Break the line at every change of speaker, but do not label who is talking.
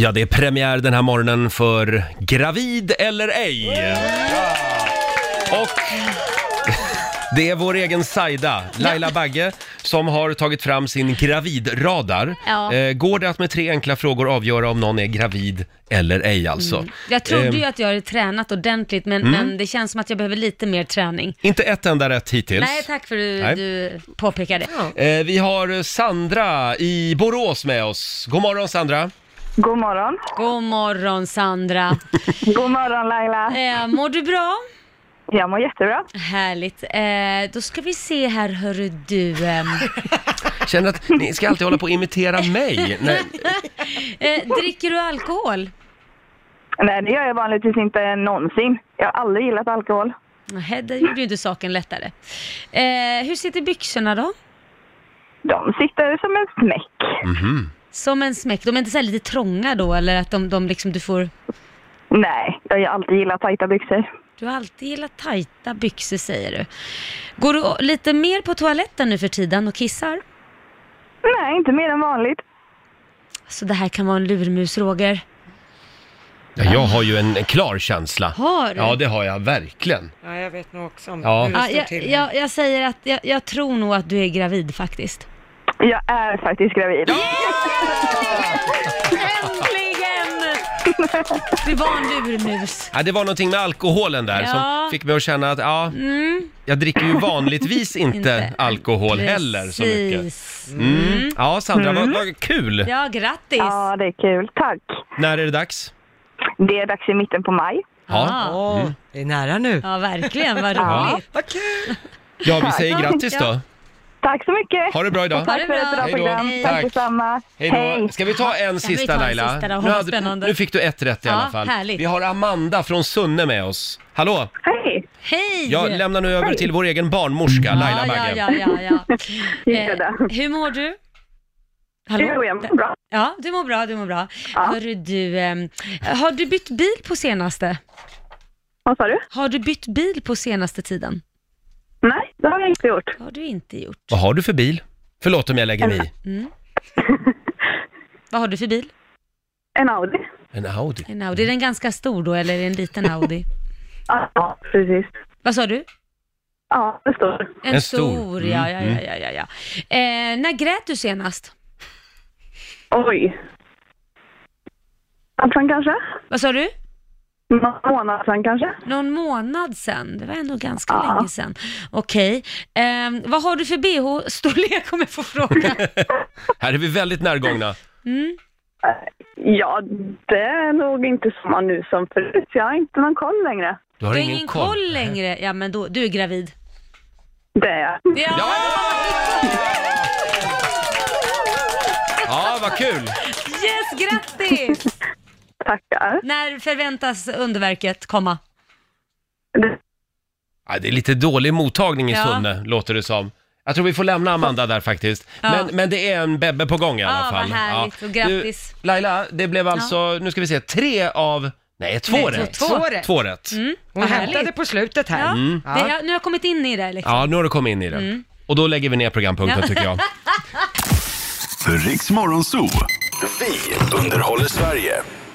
Ja, det är premiär den här morgonen för Gravid eller ej. Och det är vår egen Saida, Laila Bagge, som har tagit fram sin gravidradar.
Ja.
Eh, går det att med tre enkla frågor avgöra om någon är gravid eller ej alltså?
Mm. Jag trodde
Ehm. Mm.
ju att jag hade tränat ordentligt, men, men det känns som att jag behöver lite mer träning.
Eh, Inte ett enda rätt hittills.
Nej, tack för
Nej.
att du påpekade.
Eh, vi har Sandra i Borås med oss. God morgon Sandra!
God morgon.
God morgon Sandra.
God morgon Laila.
Eh, mår du bra?
Jag mår jättebra.
Härligt. Eh, då ska vi se här, hörru du. ehm.
Känner att ni ska alltid hålla på och imitera mig. Nej,
Eh, dricker du alkohol?
Nej, det gör jag vanligtvis inte någonsin. Jag har aldrig gillat alkohol.
Nej, det gjorde ju inte saken lättare. Eh, hur sitter byxorna då?
De sitter som en smäck.
Som en smäck. De är inte så här lite trånga då, eller att de, de liksom du får...
Nej, jag har ju alltid gillat tajta byxor.
Du har alltid gillat tajta byxor säger du. Går du lite mer på toaletten nu för tiden och kissar?
Nej, inte mer än vanligt.
Så Alltså, det här kan vara en lurmus, Roger.
Ja, jag har ju en klar känsla.
Har du?
Ja, det har jag verkligen.
Ja, jag vet nog också om
Ja.
hur det
Ja,
står
jag,
till.
jag, jag säger att jag, jag tror nog att du är gravid faktiskt.
Jag är faktiskt gravid.
Äntligen! Det var en lurmus.
Ja, det var någonting med alkoholen där som
Ja. Mm.
fick mig att känna att ja, jag dricker ju vanligtvis inte,
Inte.
alkohol heller så mycket.
Precis.
Mm. Ja, Sandra, vad, vad kul!
Ja, grattis!
Ja, det är kul. Tack.
När är det dags?
Det är dags i mitten på maj.
Ja,
Ja.
Åh, det är nära nu.
ja verkligen. Vad
Ja.
roligt.
Mm. Vad kul!
ja vi säger grattis då.
Tack så mycket.
Ha det bra idag.
Ha
Tack
det
för
bra.
ett bra
Hej då.
program.
Hej.
Tack.
Tack detsamma.
Hej då. Ska vi ta en
vi
sista
ta en
Laila?
sista då?
nu,
Vad
hade-
spännande.
nu fick du ett rätt i
Ja,
alla fall.
härligt.
Vi har Amanda från Sunne med oss. Hallå!
Hej.
Hej!
Jag lämnar nu över till vår egen barnmorska Laila
ja,
Bagge.
ja, ja, ja.
Hej
Eh,
då.
hur mår du?
Jo, jag mår bra.
Ja, du mår bra, du mår bra.
Ja.
Hörru du, ehm, har du bytt bil på senaste?
Vad sa du?
Har du bytt bil på senaste tiden?
Nej, det har jag inte gjort.
Det har du inte gjort.
Vad har du för bil? Förlåt om jag lägger mig i.
Vad har du för bil?
En Audi.
En Audi.
En Audi. Är den ganska stor då, eller är det en liten Audi?
Ja, precis.
Vad sa du?
Ja, det står.
En,
En stor.
ja, ja, ja, ja, ja, ja. Eh, när grät du senast?
Oj. Sen kanske?
Vad sa du?
Någon månad sen kanske?
Någon månad sedan? Det var ändå ganska
Ja.
länge sedan. Okej. Ehm, vad har du för bh-storlek om jag får fråga?
Här är vi väldigt närgångna.
Ja, det är nog inte samma nu som förut. Jag har inte någon koll längre.
Du har
Du har
ingen,
ingen koll längre. Ja, men då, du är gravid.
Det är jag.
Ja!
Ja! Ja, vad kul!
Yes, grattis!
Tackar.
när förväntas underverket komma?
Det-
Ja, det är lite dålig mottagning i
Ja.
Sunne, låter det som. Jag tror vi får lämna Amanda där faktiskt.
Ja.
Men, men det är en bebbe på gång i alla
Ja,
fall.
vad härligt. Och grattis.
Du, Laila, det blev alltså, nu ska vi se, tre av, nej två
Nej,
rätt.
två. Mm.
Två rätt.
Två rätt.
Hon
Vad
hämtade
härligt.
på slutet här.
Ja.
Ja.
Det, jag, nu har jag kommit in i det liksom.
Ja, nu har du kommit in i det. Och då lägger vi ner programpunkten
Mm. Ja.
tycker jag.
Riks Morgonzoo. Vi underhåller Sverige.